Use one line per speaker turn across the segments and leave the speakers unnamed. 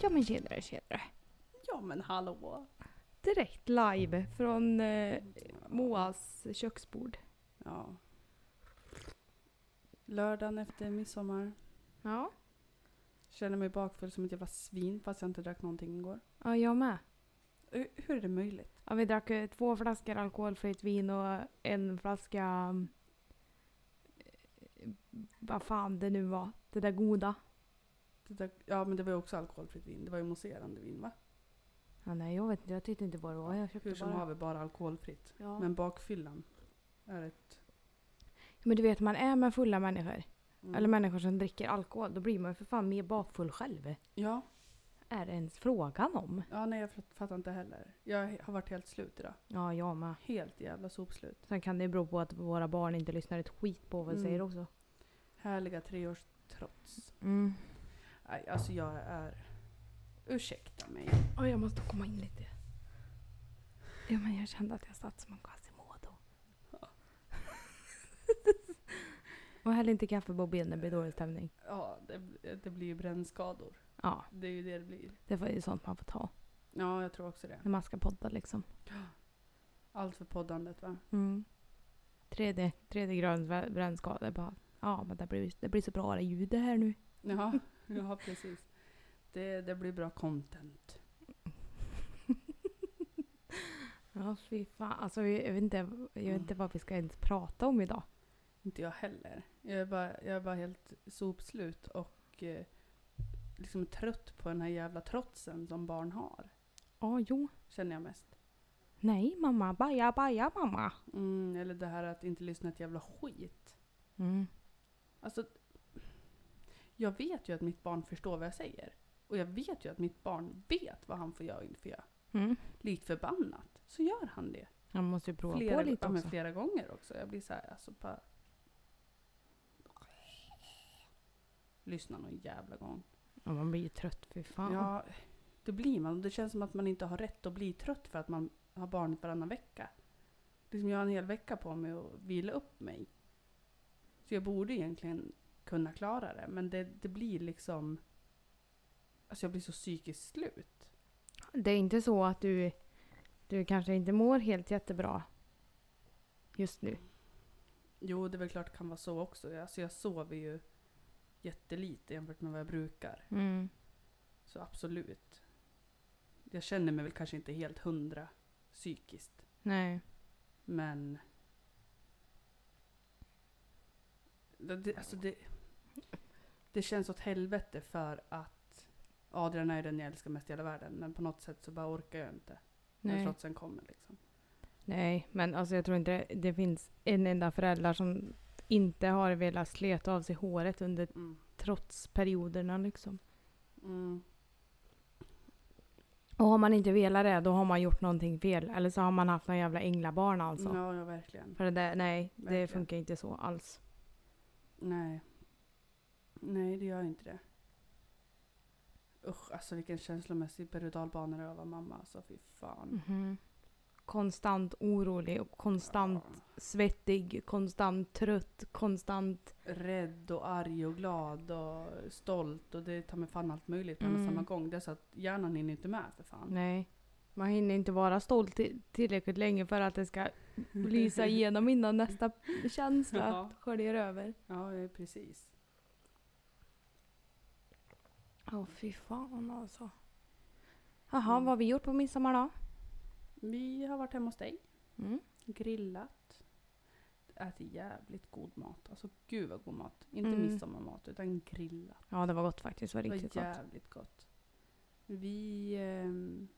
Ja men tjenare tjenare.
Ja men hallå.
Direkt live från eh, Moas köksbord.
Ja. Lördagen efter midsommar.
Ja.
Känner mig bakfull som ett jävla svin fast jag inte drack någonting igår.
Ja jag med.
Hur hur är det möjligt?
Ja, vi drack eh, två flaskor alkoholfritt vin och en flaska... mm, eh, Vad fan det nu var. Det där goda.
Det där, ja men det var ju också alkoholfritt vin. Det var ju mousserande vin va?
Ja, nej jag vet inte, jag tyckte inte vad det var. Jag köpte
Hur som
bara.
haver bara alkoholfritt.
Ja. Men,
Men bakfyllan är ett...
men du vet man är med fulla människor.
Mm.
Eller människor som dricker alkohol. Då blir man ju för fan mer bakfull själv.
Ja.
Är det ens frågan om?
Ja nej jag fattar inte heller. Jag har varit helt slut idag.
Ja jag med.
Helt jävla sopslut.
Sen kan det ju bero på att våra barn inte lyssnar ett skit på vad vi
Mm.
säger också.
Härliga treårstrots.
Mm.
Nej, alltså jag är... Ursäkta mig.
Oj, jag måste komma in lite. Ja, men jag kände att jag satt som en Quasimodo. och häll inte kaffe på benen, det blir dålig stämning.
Ja, det, det blir ju brännskador.
Ja,
Det är ju det det blir.
det var ju sånt man får ta
Ja, jag tror också det.
när man ska podda liksom.
Allt för poddandet va?
Mm. Tredje, tredje gradens brä- brännskada. Bara, ja, men det blir, det blir så bra det ljud det här nu.
Ja, ja precis. Det, det blir bra content.
Ja, fy fan. Alltså, jag vet, inte, jag vet inte vad vi ska ens prata om idag.
Inte jag heller. Jag är bara, jag är bara helt sopslut och eh, liksom trött på den här jävla trotsen som barn har.
Ja, jo.
Känner jag mest.
Nej, mamma. Baja, baja, mamma.
Mm, eller det här att inte lyssna ett jävla skit.
Mm.
Alltså, jag vet ju att mitt barn förstår vad jag säger. Och jag vet ju att mitt barn vet vad han får göra och inte får göra.
Mm.
Likt förbannat så gör han det.
Man måste ju prova
Flera,
på lite
ja, men
också.
flera gånger också. Jag blir så här, alltså bara... Lyssna någon jävla gång.
Ja, man blir ju trött, fy fan.
Ja, det blir man. Det känns som att man inte har rätt att bli trött för att man har barnet varannan vecka. Liksom jag har en hel vecka på mig att vila upp mig. Så jag borde egentligen kunna klara det, men det, det blir liksom... Alltså jag blir så psykiskt slut.
Det är inte så att du, du kanske inte mår helt jättebra just nu.
Jo, det är väl klart det kan vara så också. Jag- Alltså jag sover ju jättelite jämfört med vad jag brukar. Så absolut. Jag känner mig väl kanske inte helt hundra psykiskt.
Nej.
Men... Det, det, alltså det, det känns åt helvete för att Adrian är ju den jag älskar mest i hela världen. Men på något sätt så bara orkar jag inte. När
Nej.
trotsen kommer liksom.
Nej, men alltså jag tror inte det finns en enda förälder som inte har velat sleta av sig håret under
Mm.
trotsperioderna liksom.
Mm.
Och har man inte velat det, då har man gjort någonting fel. Eller så har man haft någon jävla änglabarn alltså.
Ja, ja, verkligen.
För det där, nej, det
Verkligen.
funkar inte så alls.
Nej. Nej, det gör inte det. Usch, alltså vilken känslomässig berg och dalbana det var att vara mamma. Alltså fy fan.
Mhm. Konstant orolig och konstant
Ja.
svettig, konstant trött, konstant...
rädd och arg och glad och stolt och det tar mig fan allt möjligt på en och
Mm.
samma gång. Det är så att hjärnan hinner inte med för fan.
Nej. Man hinner inte vara stolt till- tillräckligt länge för att det ska lysa igenom innan nästa känsla
Ja.
sköljer över.
Ja, eh, precis.
Ja, fy fan alltså. Mm. Jaha, vad har vi gjort på midsommar då?
Vi har varit hemma hos dig,
Mm.
grillat, ätit jävligt god mat. Alltså gud vad god mat. Inte
Mm.
midsommarmat utan grillat.
Ja, det var gott faktiskt. Det var
Det var
riktigt gott.
jävligt gott. Vi... ehm,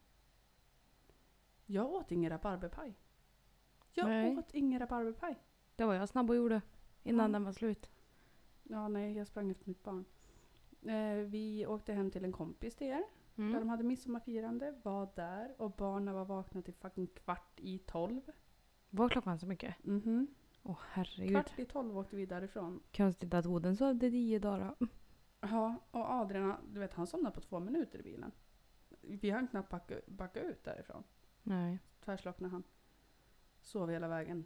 jag åt ingen rabarberpaj. Jag
Nej.
åt ingen rabarberpaj.
Det var jag snabb och gjorde innan
Ja.
den var slut.
Ja, nej, jag sprang efter mitt barn. Eh, vi åkte hem till en kompis till er. Där de
Mm.
hade midsommarfirande, var där och barnen var vakna till fucking kvart i tolv.
Var klockan så mycket?
Mhm.
Åh herregud.
Kvart i tolv åkte vi därifrån.
Konstigt att Oden sovde tio dagar. då.
Ja, och Adrian, du vet han somnade på två minuter i bilen. Vi hann knappt backa, backa ut därifrån.
Nej.
Tvärslocknade han. Sov hela vägen.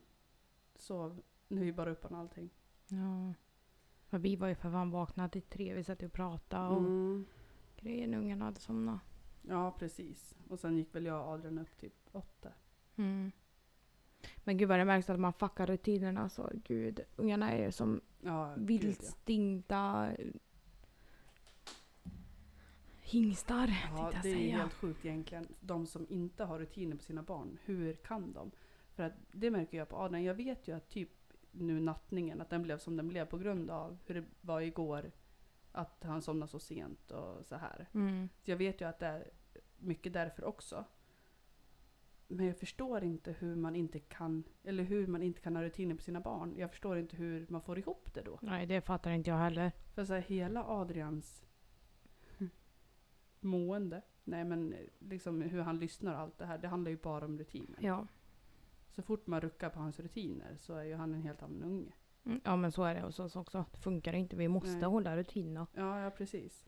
Sov, nu är bara upp och allting.
Ja. Men vi var ju för fan vakna till tre, vi satt och pratade och
Mm.
grejen ungen hade somnat.
Ja, precis. Och sen gick väl jag och Adrian upp typ åtta.
Mm. Men gud vad det märks att man fuckar rutinerna. Alltså, gud, ungarna är ju som
Ja, gud, ja.
vildstinta hingstar.
Ja,
tänkte jag
det är
säga.
helt sjukt egentligen. De som inte har rutiner på sina barn, hur kan de? För att det märker jag på Adrian. Jag vet ju att typ nu nattningen, att den blev som den blev på grund av hur det var igår. Att han somnade så sent och så här.
Mm.
Så jag vet ju att det är mycket därför också. Men jag förstår inte hur man inte kan, eller hur man inte kan ha rutiner på sina barn. Jag förstår inte hur man får ihop det då.
Nej, det fattar inte jag heller.
För så här, hela Adrians
Mm.
mående, nej men liksom hur han lyssnar och allt det här, det handlar ju bara om rutiner.
Ja.
Så fort man ruckar på hans rutiner så är ju han en helt annan unge.
Mm, ja, men så är det hos oss också. Det funkar inte. Vi måste
Nej.
hålla rutinerna.
Ja, ja precis.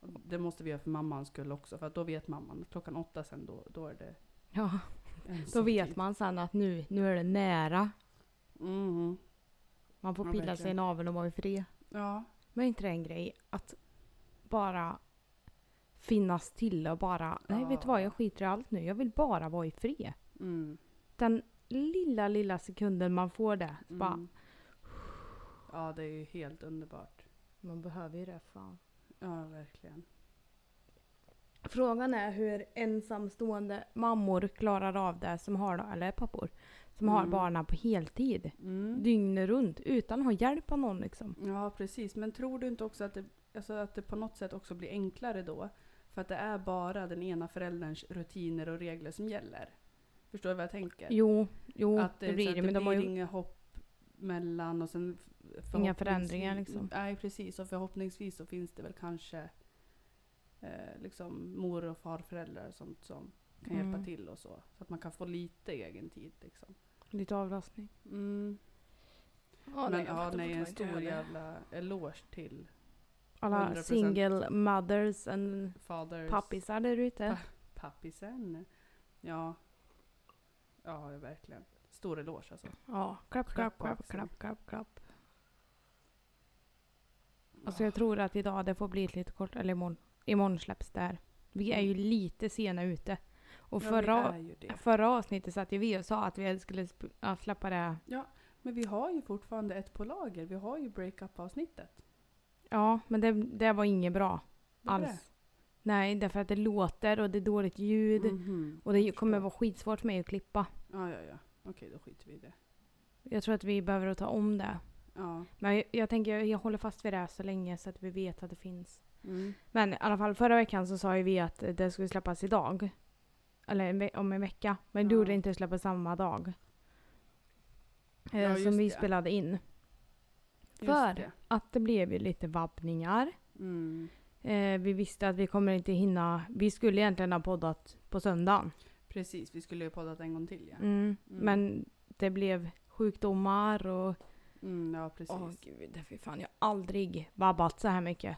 Och Det måste vi göra för mammans skull också, för att då vet mamman. Klockan åtta sen då, då är det
Ja, då
ensamtid.
vet man sen att nu, nu är det nära.
Mhm.
Man får
Ja,
pilla sig i
verkligen.
naveln och vara i fred.
Ja,
Men är inte det en grej att bara finnas till och bara, nej vet du vad, jag skiter i allt nu. Jag vill bara vara i fred.
Mm.
Den lilla, lilla sekunden man får det. så Bara,
Mm. Ja, det är ju helt underbart.
man behöver ju det fan.
Ja, verkligen.
Frågan är hur ensamstående mammor klarar av det som har, eller pappor, som har
Mm.
barnen på heltid.
Mm.
Dygnet runt utan att ha hjälp av någon liksom.
Ja, precis. Men tror du inte också att det, alltså att det på något sätt också blir enklare då? För att det är bara den ena förälderns rutiner och regler som gäller. Förstår du vad jag tänker?
Jo, jo
att
det,
så
blir
att
det. Men de har
blir
ju...
inga hopp mellan och sen... f- förhoppningsvis-
förändringar, liksom.
Nej, precis. Och förhoppningsvis så finns det väl kanske eh, liksom mor och farföräldrar och sånt som kan
Mm.
hjälpa till och så. Så att man kan få lite egen tid liksom.
Lite avlastning.
Mm.
Ja,
Men ja, nej, en stor jävla eloge till
Alla
100%.
single mothers and
faders...
pappisar där
Ah.
ute.
Pappisen. Ja. Ja, verkligen. Stor eloge alltså.
Ja, klapp, klapp,
Klapp på
klapp,
axeln.
klapp, klapp, klapp. Alltså
Ah.
jag tror att idag det får bli ett lite kort, eller imorgon, imorgon släpps det här. Vi är ju lite sena ute. Och
Mm. Ja,
förra,
det är ju det.
förra avsnittet satt ju vi och sa att vi skulle sp- ja, släppa det.
Men vi har ju fortfarande ett på lager. Vi har ju breakup-avsnittet.
Ja, men det, det var inget bra
Var det
alls. Nej, därför att det låter och det är dåligt ljud.
det? Mhm.
Och det
Jag
kommer
förstår.
vara skitsvårt för mig att klippa.
Ja, ja, ja. Okej, då skiter vi i det.
Jag tror att vi behöver ta om det.
Ja.
Men jag, jag tänker, jag, jag håller fast vid det här så länge så att vi vet att det finns.
Mm.
Men i alla fall förra veckan så sa ju vi att det skulle släppas idag. Eller en ve- om en vecka. Men du
Ja.
gjorde inte släppa samma dag. Eh,
Ja,
som
just
vi
det.
spelade in.
Just
För
det.
att det blev ju lite vabbningar.
Mm.
Eh, vi visste att vi kommer inte hinna. Vi skulle egentligen ha poddat på söndagen.
Precis, vi skulle ju poddat en gång till ja.
Mm. Men det blev sjukdomar och...
Mm, ja, precis.
Åh gud, fy fan. Jag har aldrig vabbat så här mycket.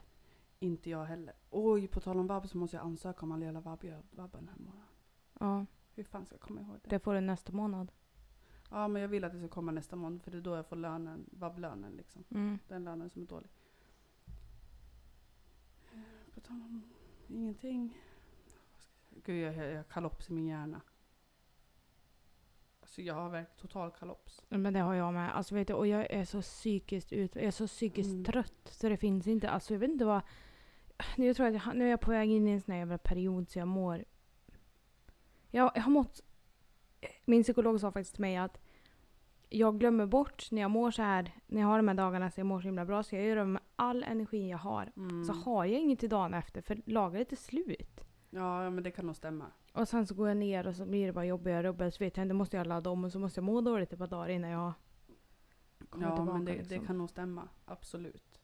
Inte jag heller. Oj, på tal om vab så måste jag ansöka om alla jävla vab jag vabbar den här morgonen.
Ja,
Hur fan ska jag komma ihåg det?
det får du nästa månad.
Ja, men jag vill att det ska komma nästa månad för det är då jag får lönen, vab-lönen liksom.
Mm.
Den lönen som är dålig. Eh, På tal om ingenting. Vad ska jag säga? Gud, jag, jag, jag har kalops i min hjärna. Alltså jag har verkligen total kalops.
Men det har jag med. Alltså, vet du, och jag är så psykiskt ut, jag är så psykiskt
Mm.
trött så det finns inte. Alltså, jag vet inte vad... Nu, jag tror att jag, nu är jag på väg in i en sån här jävla period så jag mår... Jag, jag har mått... Min psykolog sa faktiskt till mig att jag glömmer bort när jag mår så här, när jag har de här dagarna så jag mår så himla bra så jag gör av med all energi jag har.
Mm.
Så har jag inget till dagen efter för lagret är slut.
Ja, ja, men det kan nog stämma.
Och sen så går jag ner och så blir det bara jobbigare och jobbigare. Så vet jag inte, då måste jag ladda om och så måste jag må dåligt ett par dagar innan jag kommer
Ja,
tillbaka.
men det,
liksom.
det kan nog stämma. Absolut.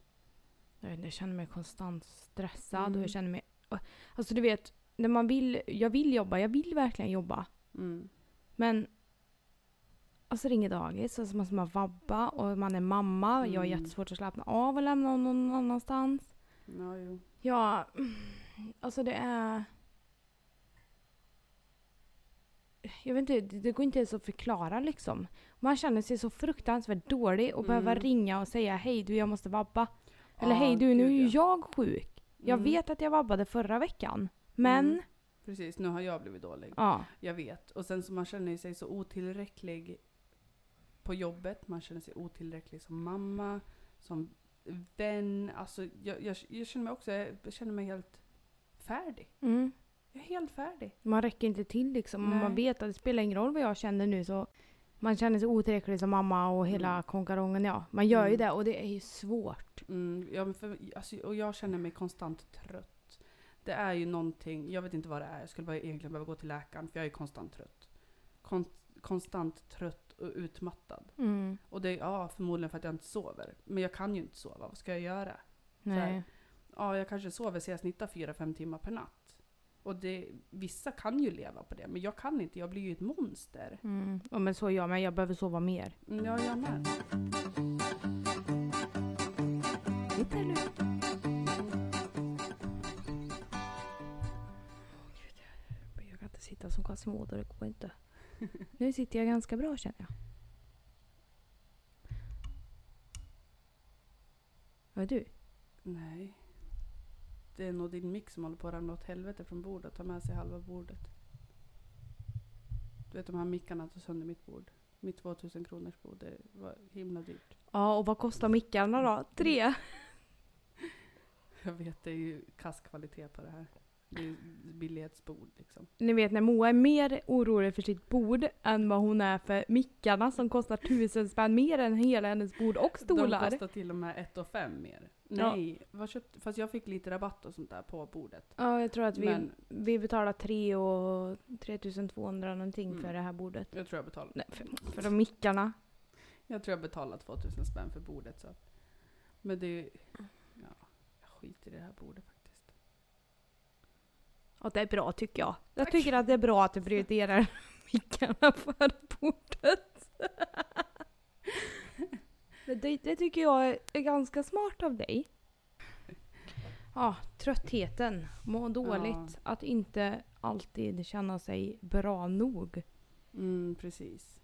jag, vet inte, jag känner mig konstant stressad och
Mm.
jag känner mig... och- Alltså du vet, när man vill, jag vill jobba, jag vill verkligen jobba.
Mm.
Men... Alltså ringer dagis och så måste man vabba och man är mamma. Jag har
Mm.
jättesvårt att slappna av och lämna någon någon annanstans.
Ja, jo.
Ja, alltså det är... Jag vet inte, det det går inte ens att förklara liksom. Man känner sig så fruktansvärt dålig och behöva
Mm.
ringa och säga hej du jag måste vabba. Eller
Ja,
hej du nu är
gud,
ju
ja.
jag sjuk. Jag
Mm.
vet att jag vabbade förra veckan, men
Mm. Precis, nu har jag blivit dålig.
ja.
Jag vet. Och sen så man känner ju sig så otillräcklig på jobbet. Man känner sig otillräcklig som mamma, som vän. Alltså jag, jag, jag känner mig också, jag känner mig helt färdig.
Mm.
Jag är helt färdig.
Man räcker inte till liksom. Och Man
Nej.
vet att det spelar ingen roll vad jag känner nu så man känner sig otillräcklig som mamma och hela
Mm.
konkarongen. Ja, man gör ju
Mm.
det och det är ju svårt.
Mm, ja, men för, alltså, och jag känner mig konstant trött. Det är ju någonting, jag vet inte vad det är, jag skulle bara egentligen behöva gå till läkaren för jag är konstant trött. Kon, konstant trött och utmattad.
Mm.
Och det är ja, förmodligen för att jag inte sover. Men jag kan ju inte sova, vad ska jag göra? här.
Nej.
Ja, jag kanske sover så jag snittar 4-5 timmar per natt. Och det, vissa kan ju leva på det, men jag kan inte, jag blir ju ett monster.
Mm. Ja, men så är jag med. Jag behöver sova mer.
Mm, Ja, jag med.
Titta nu. Jag kan inte sitta som Quasimodo, det går inte. Nu sitter jag ganska bra känner jag. Vad är du?
Nej. Det är nog din mick som håller på att ramla åt helvete från bordet. Ta med sig halva bordet. Du vet de här mickarna tog sönder mitt bord. Mitt 2000 kronors bord. Det var himla dyrt.
Ja, och vad kostar mickarna då? Tre?
Jag vet, det är ju kasskvalitet på det här. Det är ju billighetsbord liksom.
Ni vet när Moa är mer orolig för sitt bord än vad hon är för mickarna som kostar tusen spänn mer än hela hennes bord och
De
stolar.
kostar till och med 1 och fem mer.
Ja.
Nej, vad köpt, fast jag fick lite rabatt och sånt där på bordet.
Ja, jag tror att vi,
Men
vi betalar tre och 3200 någonting
Mm.
för det här bordet.
jag tror jag betalade.
Nej, för, för de mickarna.
Jag tror jag betalade 2000 spänn för bordet. Så. att- Men det är ju...
Mm.
Ja, jag skiter i det här bordet faktiskt.
Ja, det är bra tycker jag. Jag
Tack.
tycker att det är bra att du prioriterar mickarna för bordet. Men det, det tycker jag är- är ganska smart av dig. Ja, tröttheten. Må dåligt. Att inte alltid känna sig bra nog.
Mm, precis.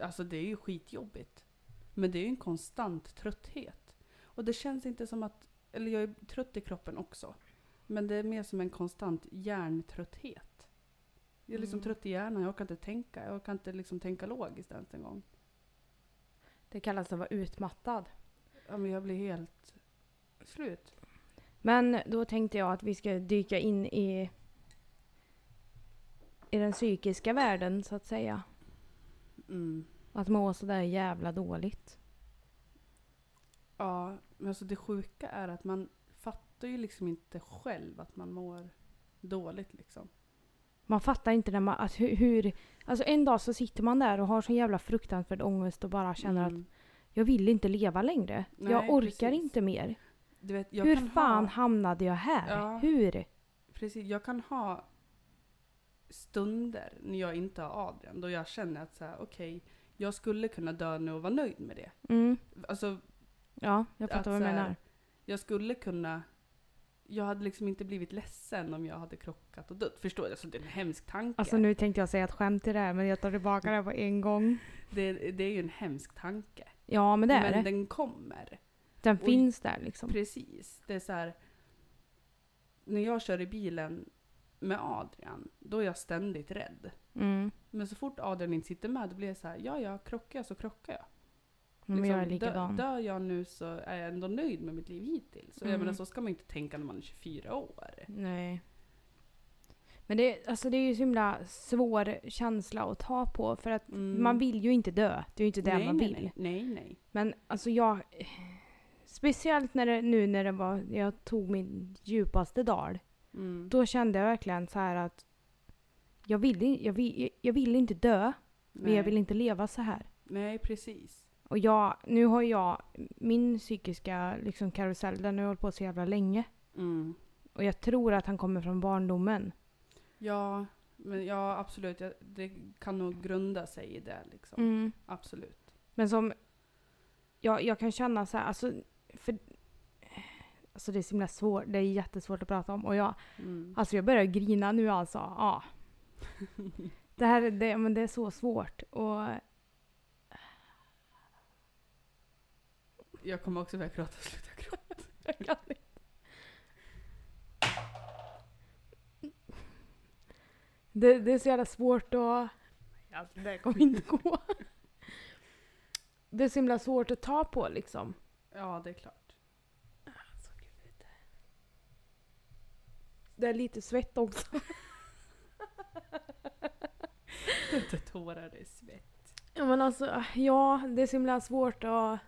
Alltså det är ju skitjobbigt. Men det är ju en konstant trötthet. Och det känns inte som att... Eller jag är trött i kroppen också. Men det är mer som en konstant hjärntrötthet. Jag är liksom
Mm.
trött i hjärnan, jag orkar inte tänka. Jag orkar inte liksom tänka logiskt ens en gång.
Det kallas att vara utmattad.
Ja, men jag blir helt slut.
Men då tänkte jag att vi ska dyka in i, i den psykiska världen så att säga.
Mm.
Att må sådär jävla dåligt.
Ja, men alltså det sjuka är att man fattar ju liksom inte själv att man mår dåligt liksom.
Man fattar inte när man, att hur, hur... Alltså en dag så sitter man där och har så jävla fruktansvärd ångest och bara känner att
Mm.
jag vill inte leva längre. jag
Nej,
orkar
precis.
inte mer.
Du vet, jag
hur
kan
fan
Ha,
hamnade jag här?
Ja.
Hur?
precis, jag kan ha stunder när jag inte har Adrian, då jag känner att så här, okej, jag skulle kunna dö nu och vara nöjd med det.
Mm.
Alltså,
Ja, jag
Att eh,
fattar vad du
så här-
menar.
jag skulle kunna... Jag hade liksom inte blivit ledsen om jag hade krockat och dött. Förstår du? Alltså, det är en hemsk tanke.
Alltså nu tänkte jag säga ett skämt till det här men jag tar tillbaka det på en
Mm.
gång.
det, det är ju en hemsk tanke.
Ja men det är
Men
det.
den kommer.
Den
och-
finns där liksom.
Precis. Det är så här. När jag kör i bilen med Adrian, då är jag ständigt rädd.
Mm.
Men så fort Adrian inte sitter med, då blir jag så här, ja ja, krockar jag så krockar jag.
Men jag är
Liksom,
likadan.
Dö, dör jag nu så är jag ändå nöjd med mitt liv hittills. Så jag
Mm.
menar, så ska man ju inte tänka när man är 24 år.
Nej. Men det, alltså det är ju så himla svår känsla att ta på för att
Mm.
man vill ju inte dö. Det är ju inte det
nej,
man vill.
nej, Nej, nej, nej.
Men alltså jag... Speciellt när det, nu när det var, jag tog min djupaste dal.
Mm.
Då kände jag verkligen så här att jag vill, i- jag vill, jag vill inte dö, men
nej.
jag vill inte leva så här.
nej, precis.
Och jag, nu har jag, min psykiska liksom karusell, den har jag hållit på så jävla länge.
Mm.
Och jag tror att han kommer från barndomen.
Ja, men ja, absolut. Jag, det kan nog grunda sig i det liksom.
Mm.
Absolut.
Men som... Jag, jag kan känna så här, alltså... För, alltså det är så himla svårt, det är jättesvårt att prata om. Och jag,
Mm.
alltså jag börjar grina nu alltså. Ja. Det här det, men det är så svårt. Och
Jag kommer också börja gråta och sluta gråta.
jag kan inte. Det, det är så jävla svårt att... Alltså, det här kommer inte gå. Det är så himla svårt att ta på liksom.
Ja, det är klart.
Det är lite svett också.
Det är inte tårar, det är svett.
Ja men alltså, ja det är så himla svårt att...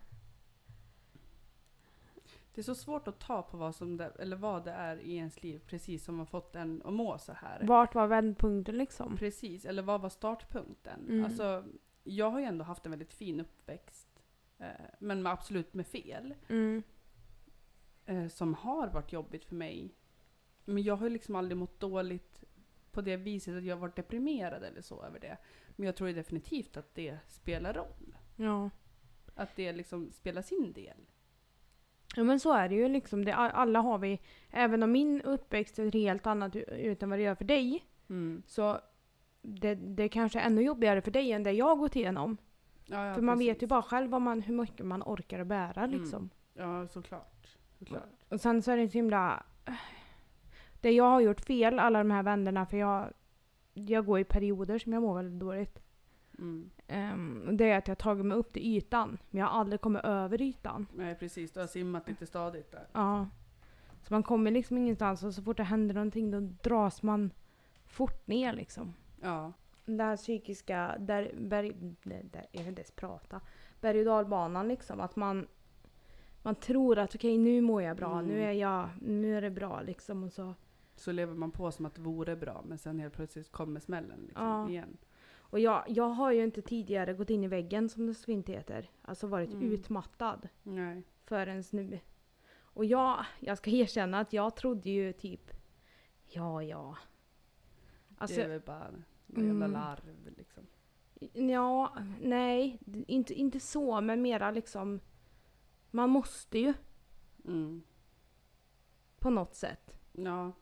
Det är så svårt att ta på vad, som det, eller vad det är i ens liv, precis som man fått en att må så här.
Vart var vändpunkten liksom?
Precis, eller vad var startpunkten?
Mm.
Alltså, jag har ju ändå haft en väldigt fin uppväxt, eh, men med absolut med fel,
Mm.
eh, som har varit jobbigt för mig. Men jag har ju liksom aldrig mått dåligt på det viset att jag har varit deprimerad eller så över det. Men jag tror ju definitivt att det spelar roll.
Ja.
Att det liksom spelar sin del.
ja men så är det ju liksom. Det, alla har vi, även om min uppväxt är ett helt annat ut än vad det gör för dig. Så det, det kanske är ännu jobbigare för dig än det jag gått igenom.
Ja, ja,
för man vet
precis.
ju bara själv vad man, hur mycket man orkar att bära
Mm.
liksom.
Ja, såklart. såklart.
Och sen så är det så himla... Det jag har gjort fel alla de här vänderna för jag, jag går i perioder som jag mår väldigt dåligt.
Mm.
Ehm, och det är att jag har tagit mig upp till ytan, men jag har aldrig kommit över ytan.
Nej, precis. Du har simmat lite stadigt där.
Ja. Så man kommer liksom ingenstans och så fort det händer någonting då dras man fort ner liksom.
Ja.
Det här psykiska, där, berg, där, där jag vill inte ens prata, berg och dalbanan liksom. Att man, man tror att okej nu mår jag bra,
Mm.
nu är jag, nu är det bra liksom. Och så,
Så lever man på som att det vore bra, men sen helt plötsligt kommer smällen liksom,
Ja.
igen.
Och jag, jag har ju inte tidigare gått in i väggen som det så fint heter. Alltså varit
Mm.
utmattad
Nej.
förrän nu. Och jag, jag ska erkänna att jag trodde ju typ, ja ja. Alltså,
det är väl bara någon jävla
Mm.
larv liksom.
ja, nej, inte, inte så, men mera liksom, man måste ju
Mm.
på något sätt.
Ja.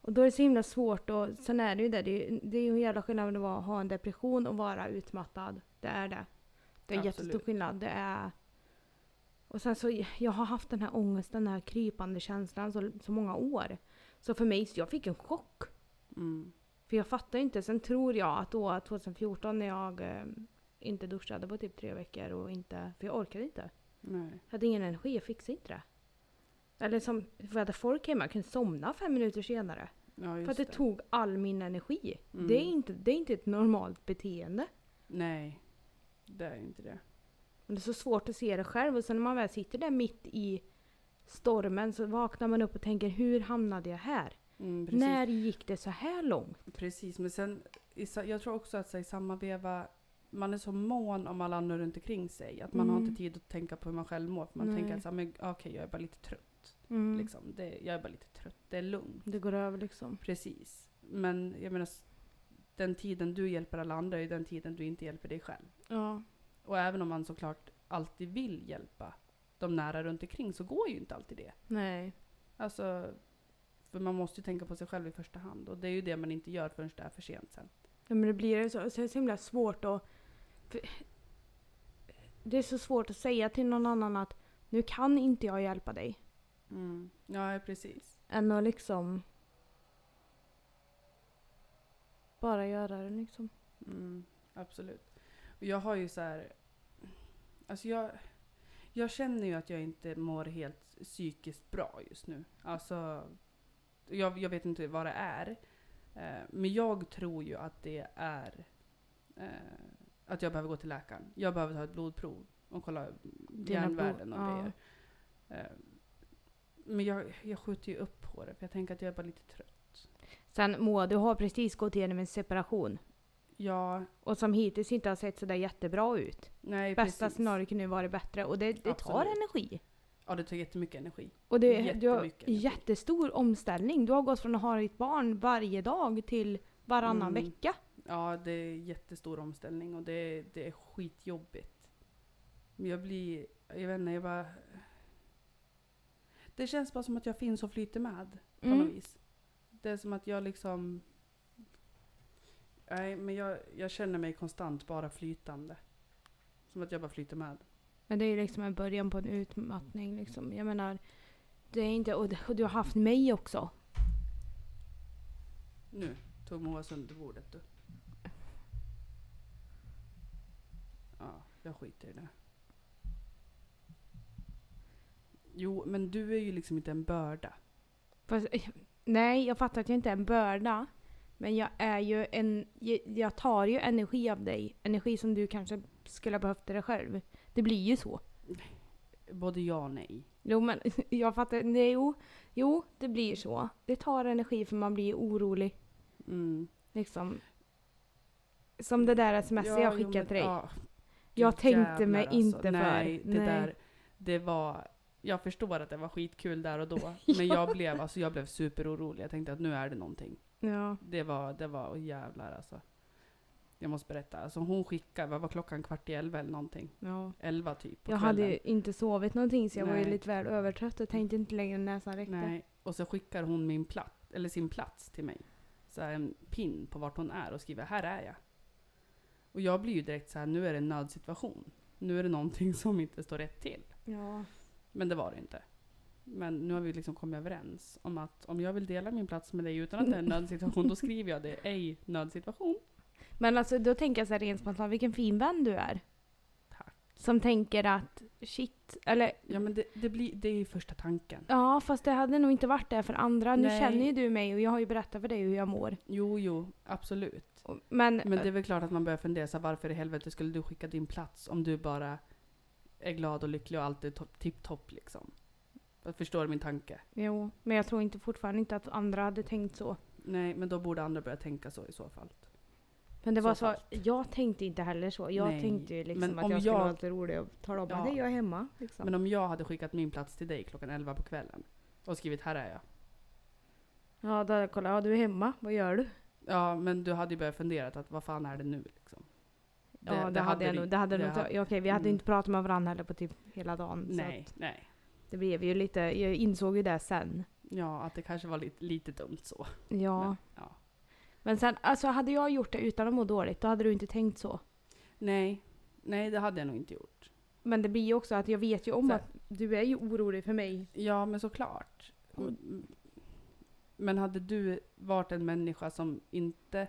Och då är det så himla svårt och sen är det ju det, det är ju, det är ju en jävla skillnad mellan att vara- ha en depression och vara utmattad. Det är det. Det är
Absolut.
jättestor skillnad. Det är... Och sen så, jag har haft den här ångesten, den här krypande känslan så, så många år. Så för mig, så jag fick en chock.
Mm.
För jag fattar ju inte. Sen tror jag att då 2014 när jag eh, inte duschade på typ tre veckor och inte, för jag orkade inte.
Nej.
Jag hade ingen energi, jag fixade inte det. Eller som, för jag hade folk hemma, jag kunde somna fem minuter senare.
Ja, just
För att det, tog all min energi.
Mm.
Det, är inte, det är inte ett normalt beteende.
Nej. Det är inte det.
Men det är så svårt att se det själv. Och sen när man väl sitter där mitt i stormen så vaknar man upp och tänker hur hamnade jag här?
Mm, precis.
När gick det så här långt?
Precis, men sen i sa- jag tror också att så, här, i samma veva man är så mån om alla andra runt omkring sig. Att man har
Mm.
inte tid att tänka på hur man själv mår. För man
Nej.
tänker att så här, men, okej, jag är bara lite trött.
Liksom.
Liksom. Det, jag är bara lite trött. Det är lugnt.
Det går över liksom.
Precis. Men jag menar, s- den tiden du hjälper alla andra är ju den tiden du inte hjälper dig själv.
Ja.
Och även om man såklart alltid vill hjälpa de nära runt omkring så går ju inte alltid det.
Nej.
Alltså, för man måste ju tänka på sig själv i första hand. Och det är ju det man inte gör förrän det är för sent sen.
Ja, men det blir ju så, så, är det så himla svårt att... för- Det är så svårt att säga till någon annan att nu kan inte jag hjälpa dig.
Mm. Ja, precis.
Än att liksom... Bara göra det liksom.
Mm, absolut. Och jag har ju så här... Alltså jag, jag känner ju att jag inte mår helt psykiskt bra just nu. Alltså, jag, jag vet inte vad det är. Eh, men jag tror ju att det är eh, att jag behöver gå till läkaren. Jag behöver ta ett blodprov och kolla
Dina
järnvärden och
blod- ja.
grejer. Eh, men jag, jag skjuter ju upp på det för jag tänker att jag är bara lite trött.
Sen Moa, du har precis gått igenom en separation.
Ja,
Och som hittills inte har sett sådär jättebra ut.
nej
Bästa
precis.
scenariot kunde ju vara bättre och det, det tar
Absolut.
energi.
Ja, det tar jättemycket energi.
Och det, du har
Jättemycket energi.
jättestor omställning. Du har gått från att ha ditt barn varje dag till varannan
Mm.
vecka.
Ja, det är jättestor omställning och det, det är skitjobbigt. Men jag blir, jag vet inte, jag bara... Det känns bara som att jag finns och flyter med på
Mm.
något vis. Det är som att jag liksom... Nej, men jag, jag känner mig konstant bara flytande. Som att jag bara flyter med.
Men det är ju liksom en början på en utmattning liksom. Jag menar, det är inte... Och, det, och du har haft mig också.
Nu, Tog Moa sönder bordet du. Ja, jag skiter i det. Jo, men du är ju liksom inte en börda.
Fast, eh, nej, jag fattar att jag inte är en börda. Men jag är ju en... jag- Jag tar ju energi av dig. Energi som du kanske skulle ha behövt dig själv. Det blir ju så.
Både ja och nej.
Jo, men jag fattar. Nej, jo, jo, det blir så. Det tar energi för man blir orolig.
Mm.
Liksom. Som det där sms jag
jo,
skickade
men-
till dig.
ja.
Jag
Gud
tänkte
jävlar alltså.
mig inte för.
Nej, det
Nej.
där, det var, jag förstår att det var skitkul där och då. Men jag blev, alltså jag blev superorolig. Jag tänkte att nu är det någonting.
Ja.
Det var, det var, oh, jävlar alltså. Jag måste berätta, alltså hon skickade, vad var klockan, kvart i elva eller någonting?
ja.
Elva typ på
Jag
kvällen.
hade ju inte sovit någonting så jag var ju
Nej.
lite väl övertrött och tänkte inte längre när näsan räckte.
Nej, och så skickar hon min plats, eller sin plats till mig. Så här, en pin på vart hon är och skriver här är jag. Och jag blir ju direkt så här, nu är det en nödsituation. Nu är det någonting som inte står rätt till.
Ja.
Men det var det inte. Men nu har vi liksom kommit överens om att om jag vill dela min plats med dig utan att det är en nödsituation, då skriver jag det. Ej nödsituation.
Men alltså då tänker jag så här rent spontant, vilken fin vän du är.
Tack.
Som tänker att shit, eller
Ja men det, det, blir, det är ju första tanken.
ja fast det hade nog inte varit det för andra. Nu
Nej.
känner ju du mig och jag har ju berättat för dig hur jag mår.
Jo, jo, absolut.
Och- Men, eh,
Men det är väl klart att man börjar fundera så här, varför i helvete skulle du skicka din plats om du bara är glad och lycklig och allt är topp- tipptopp liksom. Jag förstår min tanke.
jo, men jag tror inte fortfarande inte att andra hade tänkt så.
Nej, men då borde andra börja tänka så i så fall.
Men det var
Så
så,
falskt.
jag tänkte inte heller så. Jag
Nej,
tänkte ju liksom
men
att
om
jag skulle
jag-
vara lite rolig och tala om
Ja.
att "Hej, jag är hemma. Liksom.
Men om jag hade skickat min plats till dig klockan 11 på kvällen och skrivit här är jag.
Ja, då hade jag kollat, ja du är hemma, vad gör du?
Ja, men du hade ju börjat fundera att vad fan är det nu liksom?
ja, det, hade, jag
du-
nog. Det hade
det
nog
hade-
ta- ja, okej, vi hade
mm.
inte pratat med varandra heller på typ hela dagen. Så
Nej,
att
nej.
det blev ju lite, jag insåg ju det sen.
Ja, att det kanske var lite, lite dumt så.
Ja.
Men, ja.
Men sen, alltså hade jag gjort det utan att må dåligt, då hade du inte tänkt så.
Nej, nej det hade jag nog inte gjort.
Men det blir ju också att jag vet ju om
Så-
att du är ju orolig för mig.
Ja, men såklart. Mm. Men hade du varit en människa som inte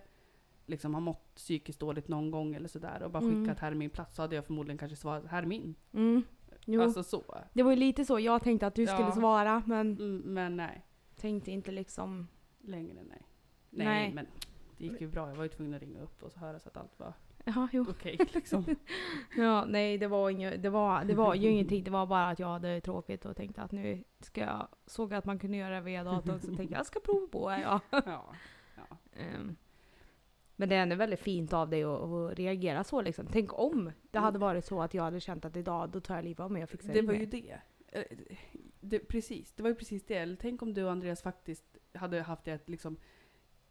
liksom har mått psykiskt dåligt någon gång eller sådär och bara
Mm.
skickat här är min plats så hade jag förmodligen kanske svarat här är min.
Mm. Jo.
Alltså så.
det var ju lite så jag tänkte att du
Ja.
skulle svara, men
Mm, men nej,
tänkte inte liksom...
längre nej. Nej,
Nej.
men det gick ju bra. Jag var ju tvungen att ringa upp och så höra så att allt var
Ja, jo.
okej liksom.
Ja, nej, det var, inget, det, var, det var ju ingenting. Det var bara att jag hade tråkigt och tänkte att nu ska jag... Såg att man kunde göra det via datorn, så tänkte jag jag ska prova på det. Ja.
Ja. ja.
Ehm, Men det är ändå väldigt fint av dig att, att reagera så liksom. Tänk om det hade varit så att jag hade känt att idag, då tar jag livet av mig och fixar
Det
in
var
det.
ju det. Eh, det. Precis, det var ju precis det. Eller Tänk om du och Andreas faktiskt hade haft ett liksom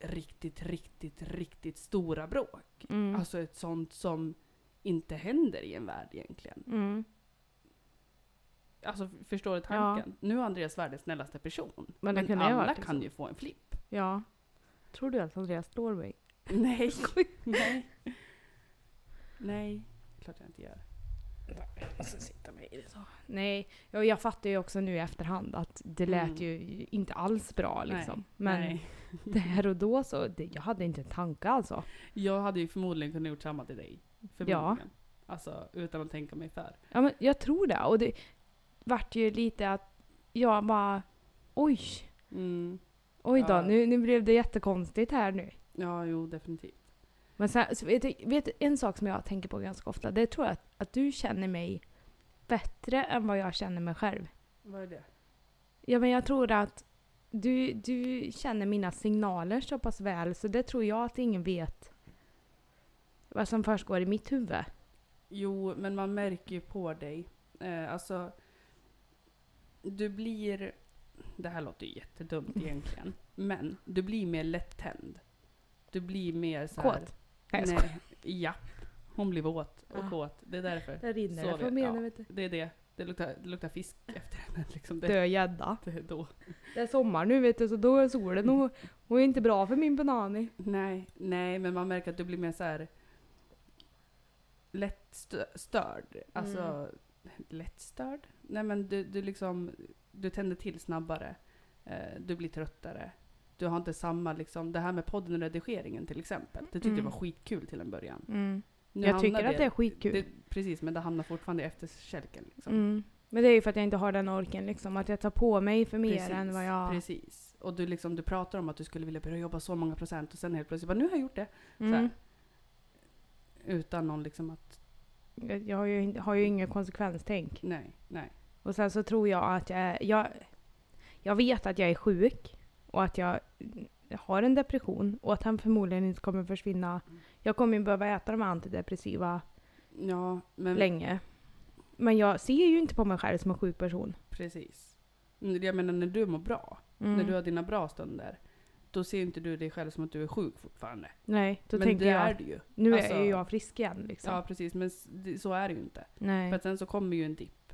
riktigt, riktigt, riktigt stora bråk.
Mm.
Alltså ett sånt som inte händer i en värld egentligen.
Mm.
Alltså f- förstår du tanken? Nu är Andreas världens snällaste person.
Men det kunde jag
alla
varit,
kan
liksom.
ju få en flipp.
Ja. Tror du att Andreas slår mig?
Nej. Nej. Nej. Klart jag inte gör. Alltså sitta med i det så.
Nej, jag, jag fattar ju också nu i efterhand att det lät
Mm.
ju inte alls bra
Nej,
liksom. Men
Nej.
där och då så, det, jag hade inte en tanke alltså.
Jag hade ju förmodligen kunnat gjort samma till dig. Förmodligen. Alltså utan att tänka mig för.
Ja, men jag tror det. Och det vart ju lite att jag bara, oj,
Mm.
oj då,
Ja.
nu, nu blev det jättekonstigt här nu.
Ja, jo definitivt.
Men sen, så vet, du- vet du, en sak som jag tänker på ganska ofta, det tror jag att, att du känner mig bättre än vad jag känner mig själv.
Vad är det?
Ja, men jag tror att du, du känner mina signaler så pass väl så det tror jag att ingen vet vad som försiggår i mitt huvud.
Jo, men man märker ju på dig. Eh, alltså, du blir... Det här låter ju jättedumt egentligen. men du blir mer lättänd. Du blir mer så här...
Kåt. Nej, jag skojar.
Nej, ja. Hon blir våt och
Ah.
kåt. Det är därför.
Där rinner
Så
det från
vet jag.
benen vet du.
Det är det. Det luktar, det luktar fisk efter henne. Liksom det,
Dö gädda.
det är då.
Det är sommar nu vet du så då är solen och hon är inte bra för min banani.
Nej, nej, men man märker att du blir mer så här lätt stö- störd. Alltså,
Mm.
lätt störd? Nej men du, du liksom, du tänder till snabbare. Eh, du blir tröttare. Du har inte samma liksom, det här med podden och redigeringen till exempel. Det tyckte
Mm.
jag var skitkul till en början.
Mm.
Nu
Jag tycker
hamnar
att det är skitkul.
det- precis, men det hamnar fortfarande efter kälken. Liksom.
Mm. Men det är ju för att jag inte har den orken liksom. Att jag tar på mig för mer än vad jag...
Precis. Och du, liksom, du pratar om att du skulle vilja börja jobba så många procent och sen helt plötsligt bara nu har jag gjort det.
Mm.
Utan någon liksom att
Jag- Jag har ju, inte- har ju inget konsekvenstänk.
nej, nej.
Och sen så tror jag att jag är... Jag, jag vet att jag är sjuk och att jag har en depression och att han förmodligen inte kommer försvinna. Jag kommer ju behöva äta de här antidepressiva
Ja, men
länge. Men jag ser ju inte på mig själv som en sjuk person.
precis. Men Jag menar när du mår bra,
Mm.
när du har dina bra stunder, då ser inte du dig själv som att du är sjuk fortfarande.
Nej, då
men
tänker
det är
jag
du ju.
nu
alltså-
är ju jag frisk igen liksom.
Ja, precis. Men s- det- så är det ju inte. För
Nej.
att sen så kommer ju en dipp.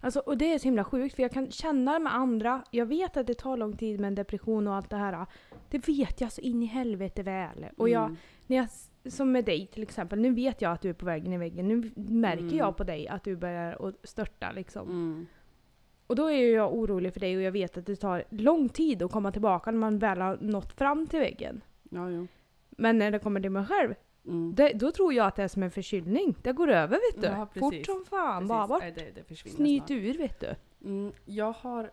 Alltså, och det är så himla sjukt för jag kan känna med andra. Jag vet att det tar lång tid med en depression och allt det här. Det vet jag så in i helvete väl. Och jag,
Mm.
när jag, s- som med dig till exempel, nu vet jag att du är på väg in i väggen. Nu märker
Mm.
jag på dig att du börjar att störta liksom.
Mm.
Och då är ju jag orolig för dig och jag vet att det tar lång tid att komma tillbaka när man väl har nått fram till väggen.
Ja, jo.
Men när det kommer till mig själv,
Mm.
det, då tror jag att det är som en förkylning. Det går över vet du.
Ja,
Fort
precis.
som fan,
Precis.
bara bort.
Nej, det, det försvinner snart.
Snyt ur vet du.
Mm, jag har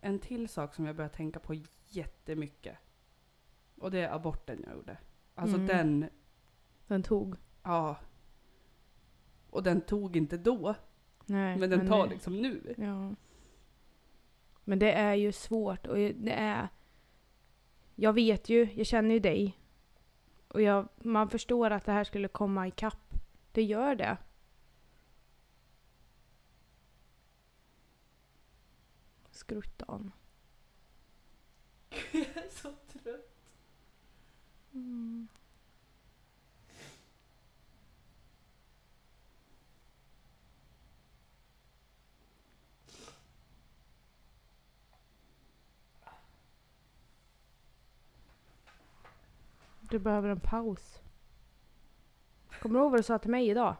en till sak som jag börjar tänka på jättemycket. Och det är aborten jag gjorde. Alltså
Mm.
den,
Den tog.
ja. Och den tog inte då,
Nej,
men den tar
eh,
liksom nu.
Ja. Men det är ju svårt och det är... Jag vet ju, jag känner ju dig. Och jag, man förstår att det här skulle komma ikapp. Det gör det. Skruttan.
jag är så trött.
Mm. Du behöver en paus. Kommer du ihåg vad du sa till mig idag?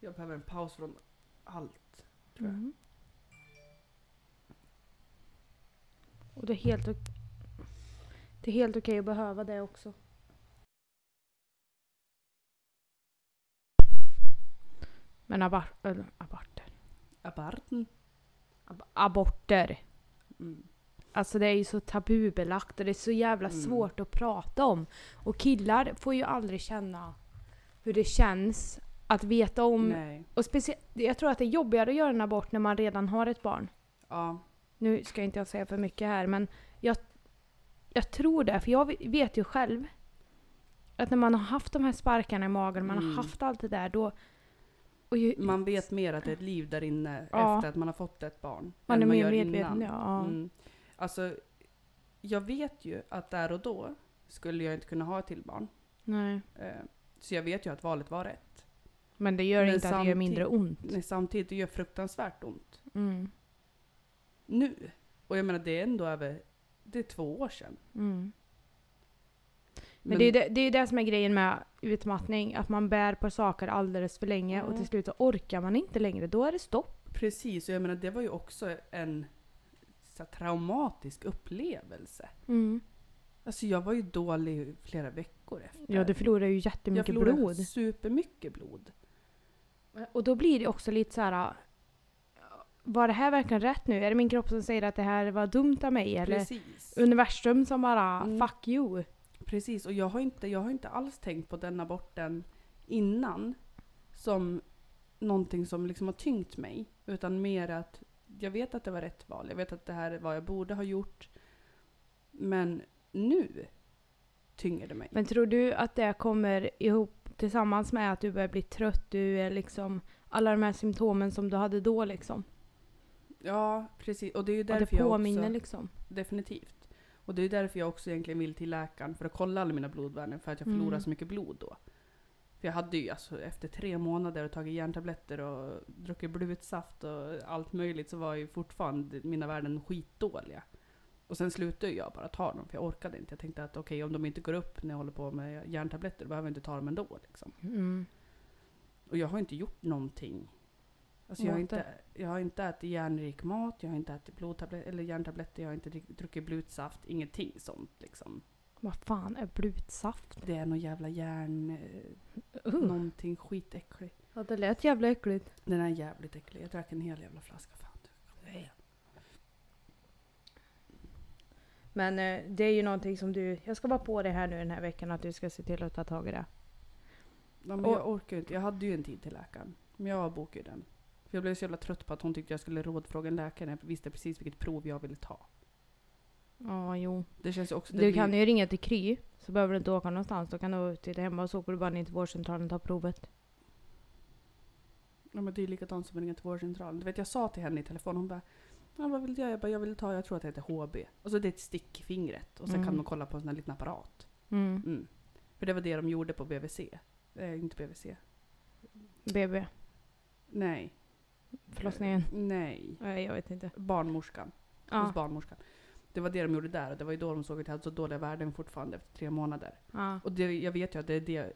Jag behöver en paus från allt. Tror jag.
Mm. Och det är helt, ok- det är helt okej att behöva det också. Men abor- eller, aborter.
Aborten.
Ab- aborter.
Mm.
Alltså det är ju så tabubelagt och det är så jävla
Mm.
svårt att prata om. Och killar får ju aldrig känna hur det känns att veta om.
Nej.
Och speciellt, jag tror att det är jobbigare att göra en abort när man redan har ett barn.
Ja.
Nu ska inte jag säga för mycket här, men jag, jag tror det. För jag vet ju själv att när man har haft de här sparkarna i magen, man
Mm.
har haft allt det där, då... Och ju,
Man vet mer att det är ett liv där inne
Ja.
efter att man har fått ett barn.
man
än
är mer
gör
medveten.
innan.
Ja.
Mm. Alltså, jag vet ju att där och då skulle jag inte kunna ha ett till barn.
Nej.
Eh, Så jag vet ju att valet var rätt.
Men det gör
Men
inte att det gör
samtid-
mindre ont.
Men samtidigt, det gör fruktansvärt ont.
Mm.
Nu. Och jag menar, det är ändå över... Det är två år sedan.
Mm. Men, det är ju det, det, är ju det som är grejen med utmattning, att man bär på saker alldeles för länge och
Ja.
till slut så orkar man inte längre. Då är det stopp.
Precis, och jag menar, det var ju också en så här, traumatisk upplevelse. Alltså jag var ju dålig i flera veckor efter.
Ja, du förlorar eh, ju
jag
jättemycket
förlorade
blod.
supermycket blod.
Och då blir det också lite så här. eh, Var det här verkligen rätt nu? Är det min kropp som säger att det här var dumt av mig? Eller
Precis.
universum som bara ah,
Mm.
“fuck you”?
Precis, och jag har, inte, jag har inte alls tänkt på den aborten innan som någonting som liksom har tyngt mig. Utan mer att jag vet att det var rätt val, jag vet att det här är vad jag borde ha gjort. Men nu tynger det mig.
Men tror du att det kommer ihop tillsammans med att du börjar bli trött, du är liksom alla de här symptomen som du hade då liksom?
ja, precis. Och det är ju
Att det
därför jag
påminner
också,
liksom?
Definitivt. Och det är ju därför jag också egentligen vill till läkaren för att kolla alla mina blodvärden för att jag förlorar
Mm.
så mycket blod då. För jag hade ju alltså efter tre månader och tagit järntabletter och druckit blutsaft och allt möjligt så var ju fortfarande mina värden skitdåliga. Och sen slutade jag bara ta dem för jag orkade inte. Jag tänkte att okej om de inte går upp när jag håller på med järntabletter då behöver jag inte ta dem ändå. Liksom.
Mm.
Och jag har inte gjort någonting Alltså jag, har
Maten.
inte, jag har inte ätit järnrik mat, jag har inte ätit blodtabletter eller järntabletter, jag har inte drick- druckit blutsaft, ingenting sånt liksom.
Vad fan är blutsaft?
Det är någon jävla järn... eh,
Uh.
Någonting skitäcklig.
Ja, det lät jävla äckligt.
Den är jävligt äcklig. Jag drack en hel jävla flaska. Fan, du. kom igen.
Men eh, det är ju någonting som du... Jag ska bara på det här nu den här veckan att du ska se till att ta tag i det.
Ja, men
Och-
jag orkar ju inte. Jag hade ju en tid till läkaren. Men jag bokade ju den. För jag blev så jävla trött på att hon tyckte jag skulle rådfråga en läkare. när Jag visste precis vilket prov jag ville ta.
Ja, jo.
Det känns ju också... det
Du kan
blir-
ju ringa till Kry. Så behöver du inte åka någonstans. Då kan du sitta hemma och så åker du bara ner till vårdcentralen och tar provet.
Ja, men det är ju likadant som att ringa till vårdcentralen. Du vet, jag sa till henne i telefon, hon bara ja, vad vill jag? Jag bara, jag vill ta, jag tror att det heter HB. Och så det är ett stick i fingret. Och sen
Mm.
kan de kolla på en sån här liten apparat.
Mm.
Mm. För det var det de gjorde på BVC. Eh, inte BVC.
BB.
Nej. Eh,
Förlossningen.
Nej.
Nej, jag vet inte.
Barnmorskan. Hos
Ja.
barnmorskan. Det var det de gjorde där och det var ju då de såg att jag hade så dåliga värden fortfarande efter tre månader.
ja.
Och det, jag vet ju att det är det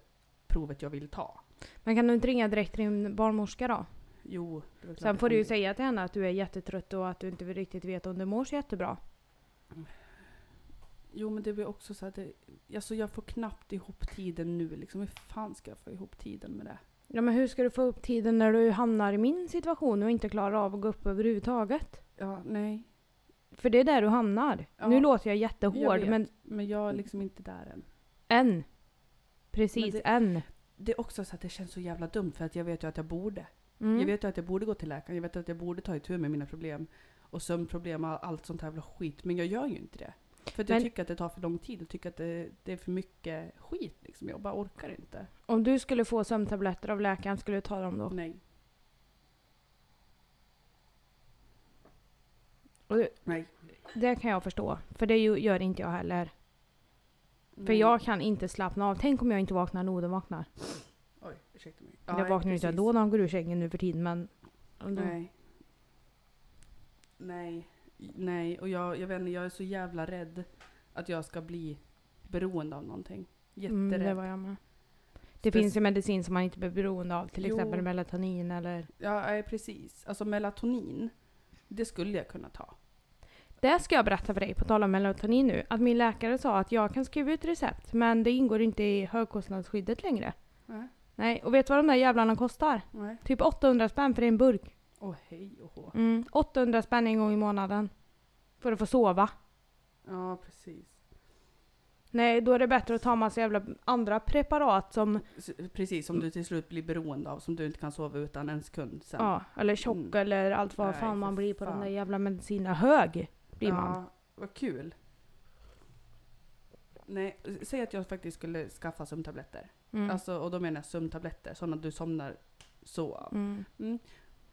provet jag vill ta.
Men kan du inte ringa direkt till din barnmorska då?
Jo. det var klart
Sen
jag
får du
kan-
ju säga till henne att du är jättetrött och att du inte riktigt vet om du mår så jättebra.
Jo men det blir också så att det, alltså jag får knappt ihop tiden nu liksom. Hur fan ska jag få ihop tiden med det?
Ja men hur ska du få upp tiden när du hamnar i min situation och inte klarar av att gå upp överhuvudtaget?
Ja, nej.
För det är där du hamnar.
Ja.
nu låter jag
Jag
jättehård
vet.
men
Men jag
Mm.
är liksom inte där än.
än. Precis,
Men det-
än.
Det är också så att det känns så jävla dumt för att jag vet ju att jag borde.
Mm.
Jag vet ju att jag borde gå till läkaren, jag vet att jag borde ta itu med mina problem. Och sömnproblem och allt sånt här jävla skit. Men jag gör ju inte det. För att jag
Men-
tycker att det tar för lång tid. Jag tycker att det, det är för mycket skit liksom. Jag bara orkar inte.
Om du skulle få sömntabletter av läkaren, skulle du ta dem då?
Nej.
Och det,
Nej.
det kan jag förstå, för det ju- gör inte jag heller. För
Nej.
jag kan inte slappna av. Tänk om jag inte vaknar när Oden vaknar.
Oj, ursäkta mig.
jag vaknar ju inte
precis.
ändå när han går ur sängen nu för tiden men... Mm, om du-
Nej. Nej. Nej, och jag, jag vet inte, jag är så jävla rädd att jag ska bli beroende av någonting.
Mm,
Jätterädd.
det var jag med. Det
Spec-
finns ju medicin som man inte blir beroende av, till
Jo.
exempel melatonin eller...
Ja, nej, precis. Alltså melatonin, det skulle jag kunna ta.
Det ska jag berätta för dig, på tal om melatonin nu. Att min läkare sa att jag kan skriva ut recept, men det ingår inte i högkostnadsskyddet längre.
Nej.
Nej, och vet du vad de där jävlarna kostar?
Nej.
Typ 800 spänn för en burk.
Åh hej och hå.
Mm, 800 spänn en gång i månaden. För att få sova.
Ja, precis.
Nej, då är det bättre att ta massa jävla andra preparat som...
S- Precis, som du till slut blir beroende av, som du inte kan sova utan en sekund sen.
Ja, eller tjock
Mm.
eller allt vad
Nej,
fan man
för
blir på
fan.
de där jävla medicinerna. Hög blir man.
Ja, vad kul. Nej, s- säg att jag faktiskt skulle skaffa sömntabletter.
Mm.
Alltså, och då menar jag sömntabletter, sådana du somnar så av.
Mm.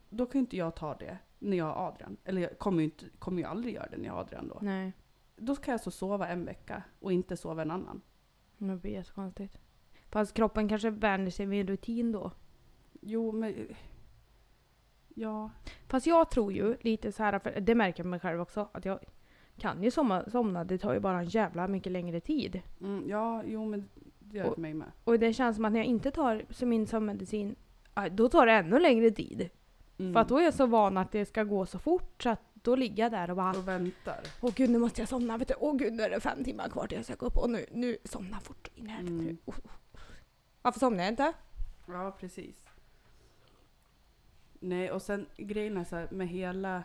Då kan ju inte jag ta det när jag har Adrian. Eller jag kommer ju, inte, kommer ju aldrig göra det när jag har Adrian då.
Nej.
Då ska jag alltså sova en vecka och inte sova en annan.
Det blir jättekonstigt. Fast kroppen kanske vänjer sig vid en rutin då.
Jo, men... Ja.
Fast jag tror ju lite så här, för det märker jag med mig själv också, att jag kan ju somna, somna det tar ju bara en jävla mycket längre tid.
Mm, ja, jo men det gör det för mig med.
Och det känns som att när jag inte tar så min sömnmedicin, aj, då tar det ännu längre tid.
Mm.
För att då är jag så van att det ska gå så fort så att då ligger jag där och bara
Och väntar.
Åh gud, nu måste jag somna. Vet du? Åh gud, nu är det fem timmar kvar till jag ska gå upp. Och nu, nu somna fort. In här,
Mm.
nu. Oh, oh. Varför somnar jag inte?
Ja, precis. Nej, och sen grejen är så här, med hela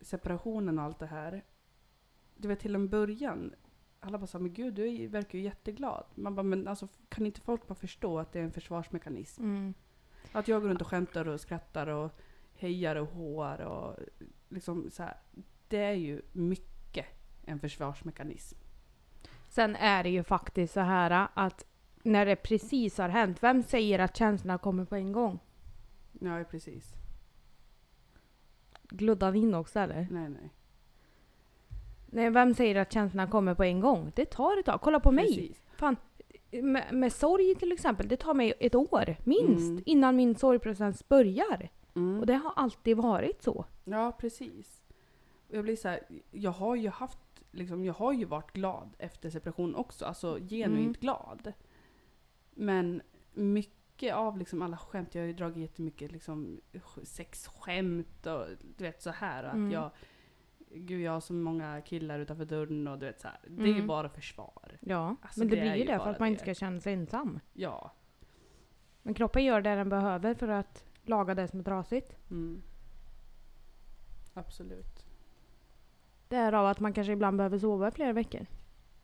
separationen och allt det här. Du vet, till en början, alla bara sa men gud, du är ju- verkar ju jätteglad. Man bara, men alltså kan inte folk bara förstå att det är en försvarsmekanism?
Mm.
Att jag går runt och skämtar och skrattar och hejar och håar och liksom så här. Det är ju mycket en försvarsmekanism.
Sen är det ju faktiskt så här att när det precis har hänt, vem säger att känslorna kommer på en gång?
Ja, precis.
Gluddar vi in också eller?
Nej, nej.
Nej, vem säger att känslorna kommer på en gång? Det tar ett tag. Kolla på mig!
Precis.
Med, med sorg till exempel, det tar mig ett år minst
Mm.
innan min sorgprocess börjar.
Mm.
Och det har alltid varit så.
Ja, precis. Och jag blir så här, jag har ju haft, liksom, jag har ju varit glad efter separationen också, alltså genuint
Mm.
glad. Men mycket mycket av liksom alla skämt, jag har ju dragit jättemycket liksom sk- sexskämt och du vet så här. Och att
Mm.
jag, gud jag har så många killar utanför dörren och du vet så här. Det är ju
Mm.
bara försvar.
Ja,
Alltså,
men det,
det är
blir ju
ju
det
bara
för att man inte ska
det.
känna sig ensam.
Ja.
Men kroppen gör det den behöver för att laga det som är trasigt.
Mm. Absolut.
Därav att man kanske ibland behöver sova i flera veckor.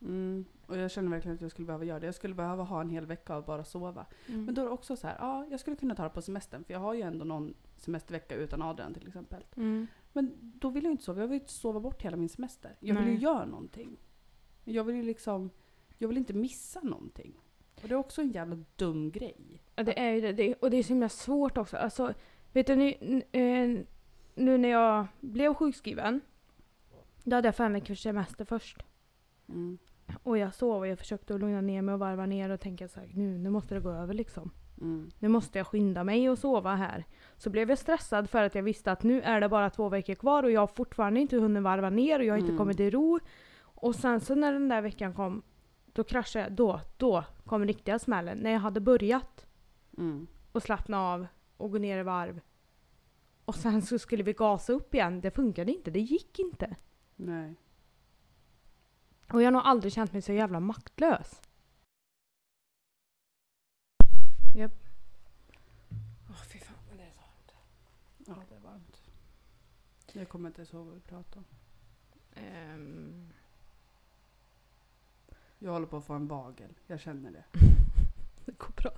Mm. Och jag känner verkligen att jag skulle behöva göra det. Jag skulle behöva ha en hel vecka av bara sova. Men då är det också så här, ja jag skulle kunna ta det på semestern för jag har ju ändå någon semestervecka utan Adrian till exempel.
Mm.
Men då vill jag inte sova. Jag vill ju inte sova bort hela min semester. Jag vill ju
Nej.
göra någonting. Jag vill ju liksom, jag vill inte missa någonting. Och det är också en jävla dum grej.
Ja, det är ju det. det. är- Och det är så himla svårt också. Alltså, vet du, nu, n- eh, nu när jag blev sjukskriven, då hade jag fem veckors semester först.
Mm.
Och jag sov och jag försökte att lugna ner mig och varva ner och tänka så här, nu, nu måste det gå över liksom.
Mm.
Nu måste jag skynda mig och sova här. Så blev jag stressad för att jag visste att nu är det bara två veckor kvar och jag har fortfarande inte hunnit varva ner och jag har inte
Mm.
kommit i ro. Och sen så när den där veckan kom, då kraschade jag. Då, då kom riktiga smällen. När jag hade börjat
Mm.
och slappna av och gå ner i varv. Och sen så skulle vi gasa upp igen. Det funkade inte. Det gick inte.
Nej.
Och jag har nog aldrig känt mig så jävla maktlös. Japp. Åh fy fan vad det är så varmt.
Ja, det är varmt. Jag kommer inte ens ihåg vad vi pratade om.
Ehm.
Jag håller på att få en vagel. Jag känner det.
det går bra.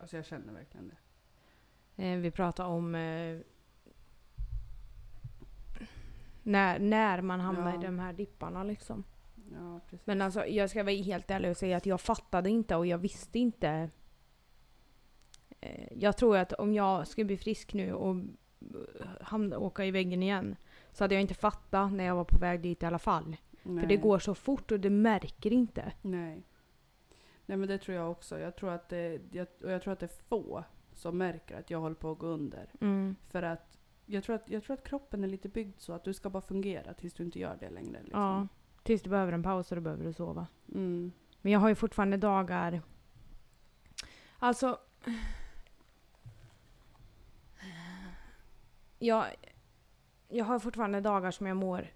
Alltså jag känner verkligen det.
Eh, vi pratade om eh, när, när man hamnar
Ja.
i de här dipparna liksom.
Ja, precis.
Men alltså jag ska vara helt ärlig och säga att jag fattade inte och jag visste inte. Eh, Jag tror att om jag skulle bli frisk nu och eh, hamna, åka i väggen igen så hade jag inte fattat när jag var på väg dit i alla fall.
Nej.
För det går så fort och det märker inte.
Nej. Nej men det tror jag också. Jag tror att det, jag, och jag tror att det är få som märker att jag håller på att gå under.
Mm.
För att jag tror att, jag tror att kroppen är lite byggd så att du ska bara fungera tills du inte gör det längre. Liksom.
Ja. Tills du behöver en paus och då behöver du sova.
Mm.
Men jag har ju fortfarande dagar... Alltså... Jag, jag har fortfarande dagar som jag mår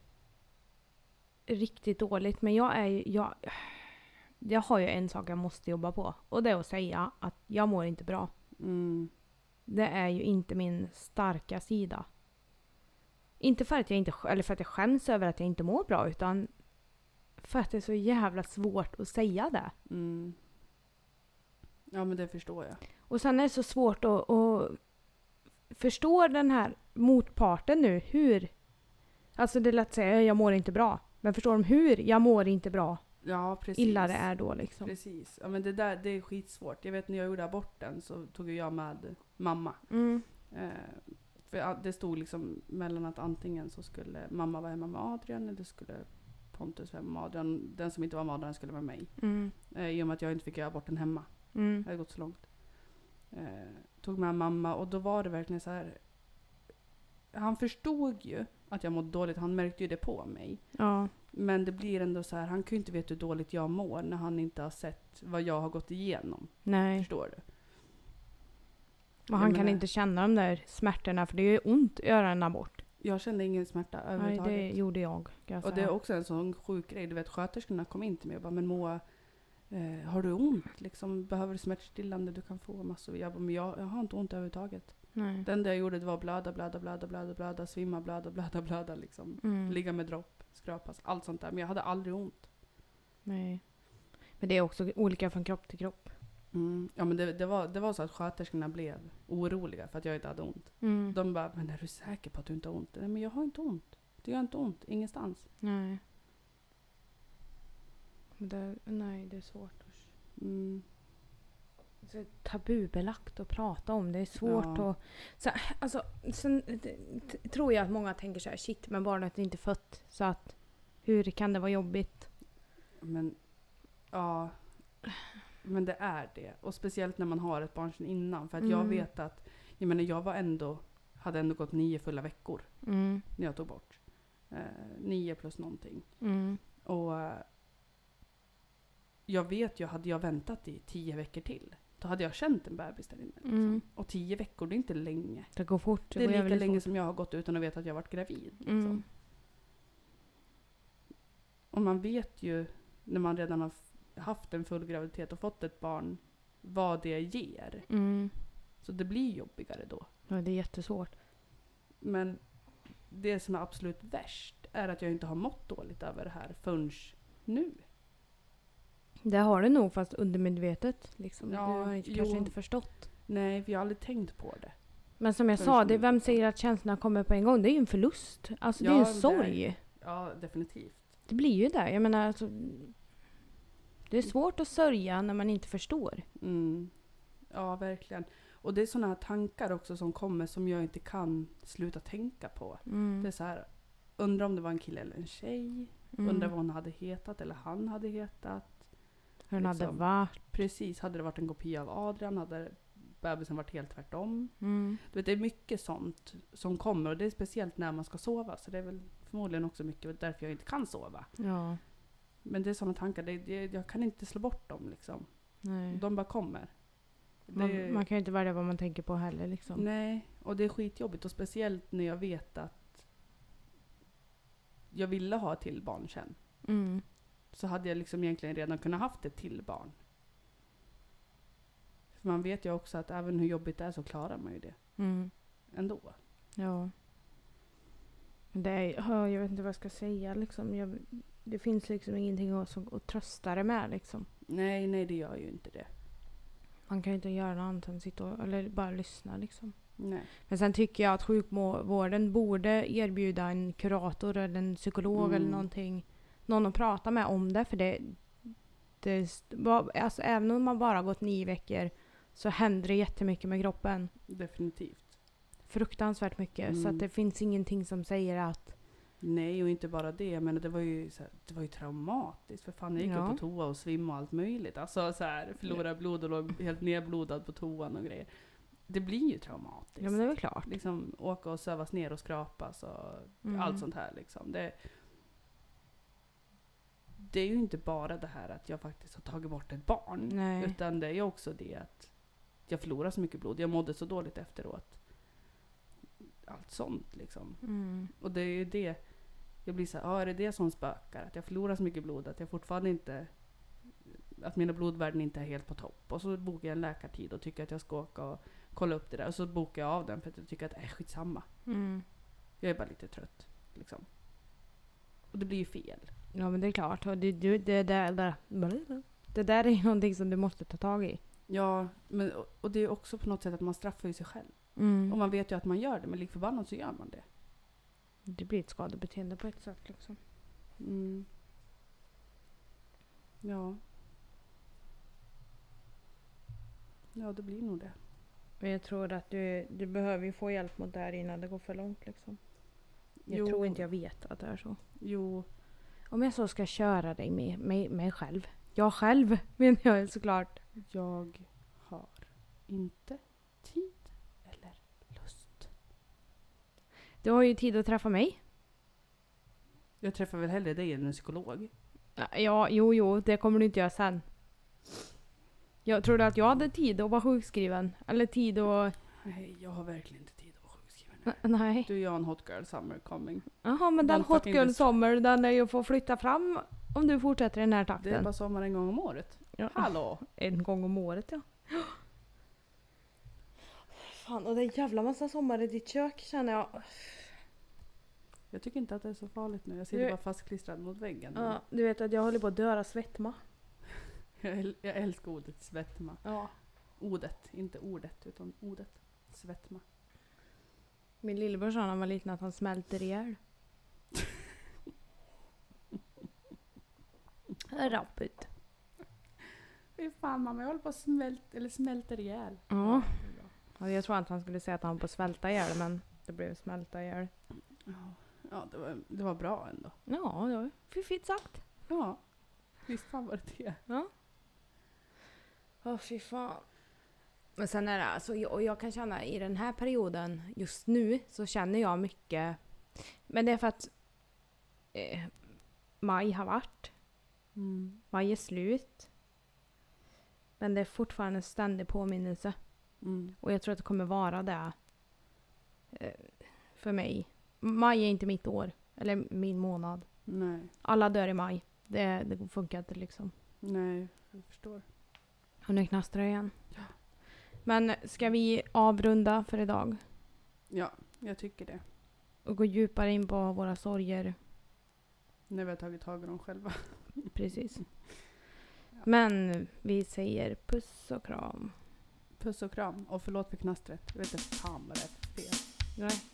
riktigt dåligt. Men jag är ju... Jag, jag har ju en sak jag måste jobba på. Och det är att säga att jag mår inte bra.
Mm.
Det är ju inte min starka sida. Inte för att jag, inte, eller för att jag skäms över att jag inte mår bra. Utan för att det är så jävla svårt att säga det.
Mm. Ja men det förstår jag.
Och sen är det så svårt att, att förstå den här motparten nu. Hur? Alltså det är lätt att säga jag mår inte bra. Men förstår de hur jag mår inte bra?
Ja precis.
Illa det är då liksom.
Precis. Ja men det där det är skitsvårt. Jag vet när jag gjorde aborten så tog ju jag med mamma.
Mm.
Eh, för ja, det stod liksom mellan att antingen så skulle mamma vara hemma med Adrian eller skulle Pontus vara hemma med Adrian. Den som inte var med Adrian skulle vara med mig.
Mm.
Eh, I och med att jag inte fick göra aborten hemma.
Mm.
Det hade gått så långt. Eh, tog med mamma och då var det verkligen så här. Han förstod ju att jag mådde dåligt. Han märkte ju det på mig.
Ja.
Men det blir ändå så här. Han kan ju inte veta hur dåligt jag mår när han inte har sett vad jag har gått igenom.
Nej.
Förstår du?
Och
Jag
han kan
menar-
inte känna de där smärtorna för det gör ju ont att göra en abort.
Jag kände ingen smärta
Nej,
överhuvudtaget.
det gjorde jag. Kan jag
Och
säga.
det är också en sån sjuk grej. Du vet sköterskorna kom in till mig och bara men Moa, eh, har du ont? Liksom, behöver du smärtstillande? Du kan få massor. Jag bara, men jag, jag har inte ont överhuvudtaget.
Nej.
Det enda jag gjorde det var att blöda, blöda, blöda, blöda, blöda, svimma, blöda, blöda, blöda liksom.
Mm.
Ligga med dropp, skrapas, allt sånt där. Men jag hade aldrig ont.
Nej. Men det är också olika från kropp till kropp.
Mm. Ja men det, det, var, det var så att sköterskorna blev oroliga för att jag inte hade ont.
Mm.
De bara, men är du säker på att du inte har ont? Nej men jag har inte ont. Det gör inte ont, ingenstans.
Nej. Men Det, nej, det är svårt.
Mm.
så tabubelagt att prata om. Det är svårt
Ja.
att... Så, alltså, sen t- t- tror jag att många tänker så här, shit men barnet är inte fött. Så att hur kan det vara jobbigt?
Men ja, men det är det. Och speciellt när man har ett barn sedan innan. För att jag
Mm.
vet att, jag menar jag var ändå, hade ändå gått nio fulla veckor
Mm,
när jag tog bort. Eh, nio plus någonting.
mm,
Och eh, jag vet ju, hade jag väntat i tio veckor till då hade jag känt en bebis där inne. Liksom.
Mm.
Och tio veckor, det är inte länge.
Det går fort.
Det är
går
lika
jävligt
länge
fort.
som jag har gått utan att veta att jag varit gravid. Liksom.
Mm.
Och man vet ju när man redan har f- haft en full graviditet och fått ett barn vad det ger.
Mm.
Så det blir jobbigare då.
Ja, det är jättesvårt.
Men det som är absolut värst är att jag inte har mått dåligt över det här förrän nu.
Det har du nog fast undermedvetet. Liksom.
Ja,
du har inte- kanske
jo.
inte förstått.
Nej, vi har aldrig tänkt på det.
Men som jag
Förrän
sa,
nu.
det, vem säger att känslorna kommer på en gång? Det är ju en förlust. Alltså det är
Ja,
ju
det
en
är-
sorg.
Ja, definitivt.
Det blir ju det. Jag menar alltså, Det är svårt att sörja när man inte förstår.
Mm. Ja, verkligen. Och det är sådana här tankar också som kommer som jag inte kan sluta tänka på. Det är så här, undrar om det var en kille eller en tjej.
Mm.
Undrar vad hon hade hetat eller han hade hetat.
Hur den hade
liksom.
varit.
Precis, hade det varit en kopia av Adrian hade bebisen varit helt tvärtom.
Mm.
Du vet, det är mycket sånt som kommer och det är speciellt när man ska sova så det är väl förmodligen också mycket därför jag inte kan sova.
Ja.
Men det är sådana tankar, det, det, jag kan inte slå bort dem liksom.
Nej.
De bara kommer. Det-
Mm. Man, man kan ju inte välja vad man tänker på heller liksom.
Nej, och det är skitjobbigt och speciellt när jag vet att jag ville ha ett till barn sen.
Mm.
Så hade jag liksom egentligen redan kunnat haft ett till barn. För man vet ju också att även hur jobbigt det är så klarar man ju det
Mm.
ändå.
Ja. Men Det är, ja, jag vet inte vad jag ska säga liksom. Jag, det finns liksom ingenting att, som- att trösta det med liksom.
Nej, nej det gör ju inte det.
Man kan ju inte göra något annat än sitta och, eller bara lyssna liksom.
Nej.
Men sen tycker jag att sjukvården borde erbjuda en kurator eller en psykolog
Mm.
eller någonting. Någon att prata med om det. För det, det är st- va- alltså, även om man bara har gått nio veckor så händer det jättemycket med kroppen.
Definitivt.
Fruktansvärt mycket. Så
Mm.
att det finns ingenting som säger att
Nej, och inte bara det. Men det var ju, så här, det var ju traumatiskt. För fan, jag gick
Ja.
upp på toa och svimmade och allt möjligt. Alltså så här, förlorade blod och låg helt nedblodad på toan och grejer. Det blir ju traumatiskt.
ja men det är väl klart.
Liksom åka och sövas ner och skrapas och
Mm.
allt sånt här liksom. Det, det är ju inte bara det här att jag faktiskt har tagit bort ett barn.
Nej.
Utan det är ju också det att jag förlorar så mycket blod. Jag mådde så dåligt efteråt. Allt sånt liksom.
Mm.
Och det är ju det. Jag blir så här, ah, är det det som spökar? Att jag förlorar så mycket blod att jag fortfarande inte... Att mina blodvärden inte är helt på topp. Och så bokar jag en läkartid och tycker att jag ska åka och kolla upp det där. Och så bokar jag av den för att jag tycker att, äh, skitsamma.
Mm.
Jag är bara lite trött. Liksom. Och det blir ju fel.
Ja men det är klart. Och det, det, det, där, där, det där är någonting som du måste ta tag i.
Ja, men, och- och det är också på något sätt att man straffar ju sig själv.
Mm.
Och man vet ju att man gör det, men lik förbannat så gör man det.
Det blir ett skadebeteende på ett sätt liksom.
Mm. Ja. Ja, det blir nog det.
Men jag tror att du, du behöver ju få hjälp mot det här innan det går för långt. Liksom. Jag
Jo.
tror inte jag vet att det är så.
Jo,
Om jag så ska köra dig med mig med själv. Jag själv menar jag såklart.
jag har inte tid eller lust.
Du har ju tid att träffa mig.
Jag träffar väl hellre dig än en psykolog.
Ja, jo, jo, det kommer du inte göra sen. Jag trodde att jag hade tid att vara sjukskriven. Eller tid att...
Nej, jag har verkligen inte tid att vara sjukskriven.
N- Nej.
Du, jag har en hot girl summer coming.
Jaha, men den
Den
hot
fucking
girl
dis-
Summer, den är ju att få flytta fram om du fortsätter i den här
Det är
takten.
bara sommar en gång om året.
Ja.
Hallå!
En gång om året ja. Fan och det är en jävla massa sommar i ditt kök känner jag.
Jag tycker inte att det är så farligt nu. Jag sitter
Du-
bara fastklistrad mot väggen.
Ja, du vet att jag håller på att dö av svettma.
Jag, äl- jag älskar ordet svettma.
Ja.
Ordet, inte ordet, utan ordet. Svettma.
Min lillebror sa när han var liten att han smälter ihjäl. Rappet.
Fy fan mamma, jag håller på att smält, eller smälter ihjäl.
Ja.
det är bra.
Ja, Jag tror att han skulle säga att han var på att svälta ihjäl men det blev smälta ihjäl.
Ja, ja det, var, det var bra ändå.
Ja, det var fiffigt sagt.
Ja, visst fan var det det.
Åh fy fan. Men sen är det alltså, jag- och jag kan känna i den här perioden just nu så känner jag mycket. Men det är för att eh, Mm. maj har varit. Maj är slut. Men det är fortfarande en ständig påminnelse.
Mm.
Och jag tror att det kommer vara det. eh, För mig. Maj är inte mitt år. Eller min månad.
Nej.
Alla dör i maj. Det, det funkar inte liksom.
Nej, jag förstår.
Och nu knastrar det igen. Men ska vi avrunda för idag?
Ja, jag tycker det.
Och gå djupare in på våra sorger.
När vi har tagit tag i dem själva.
Precis. Men vi säger puss och kram.
Puss och kram. Och förlåt för knastret. Jag vet inte fan vad det är för fel.
Nej.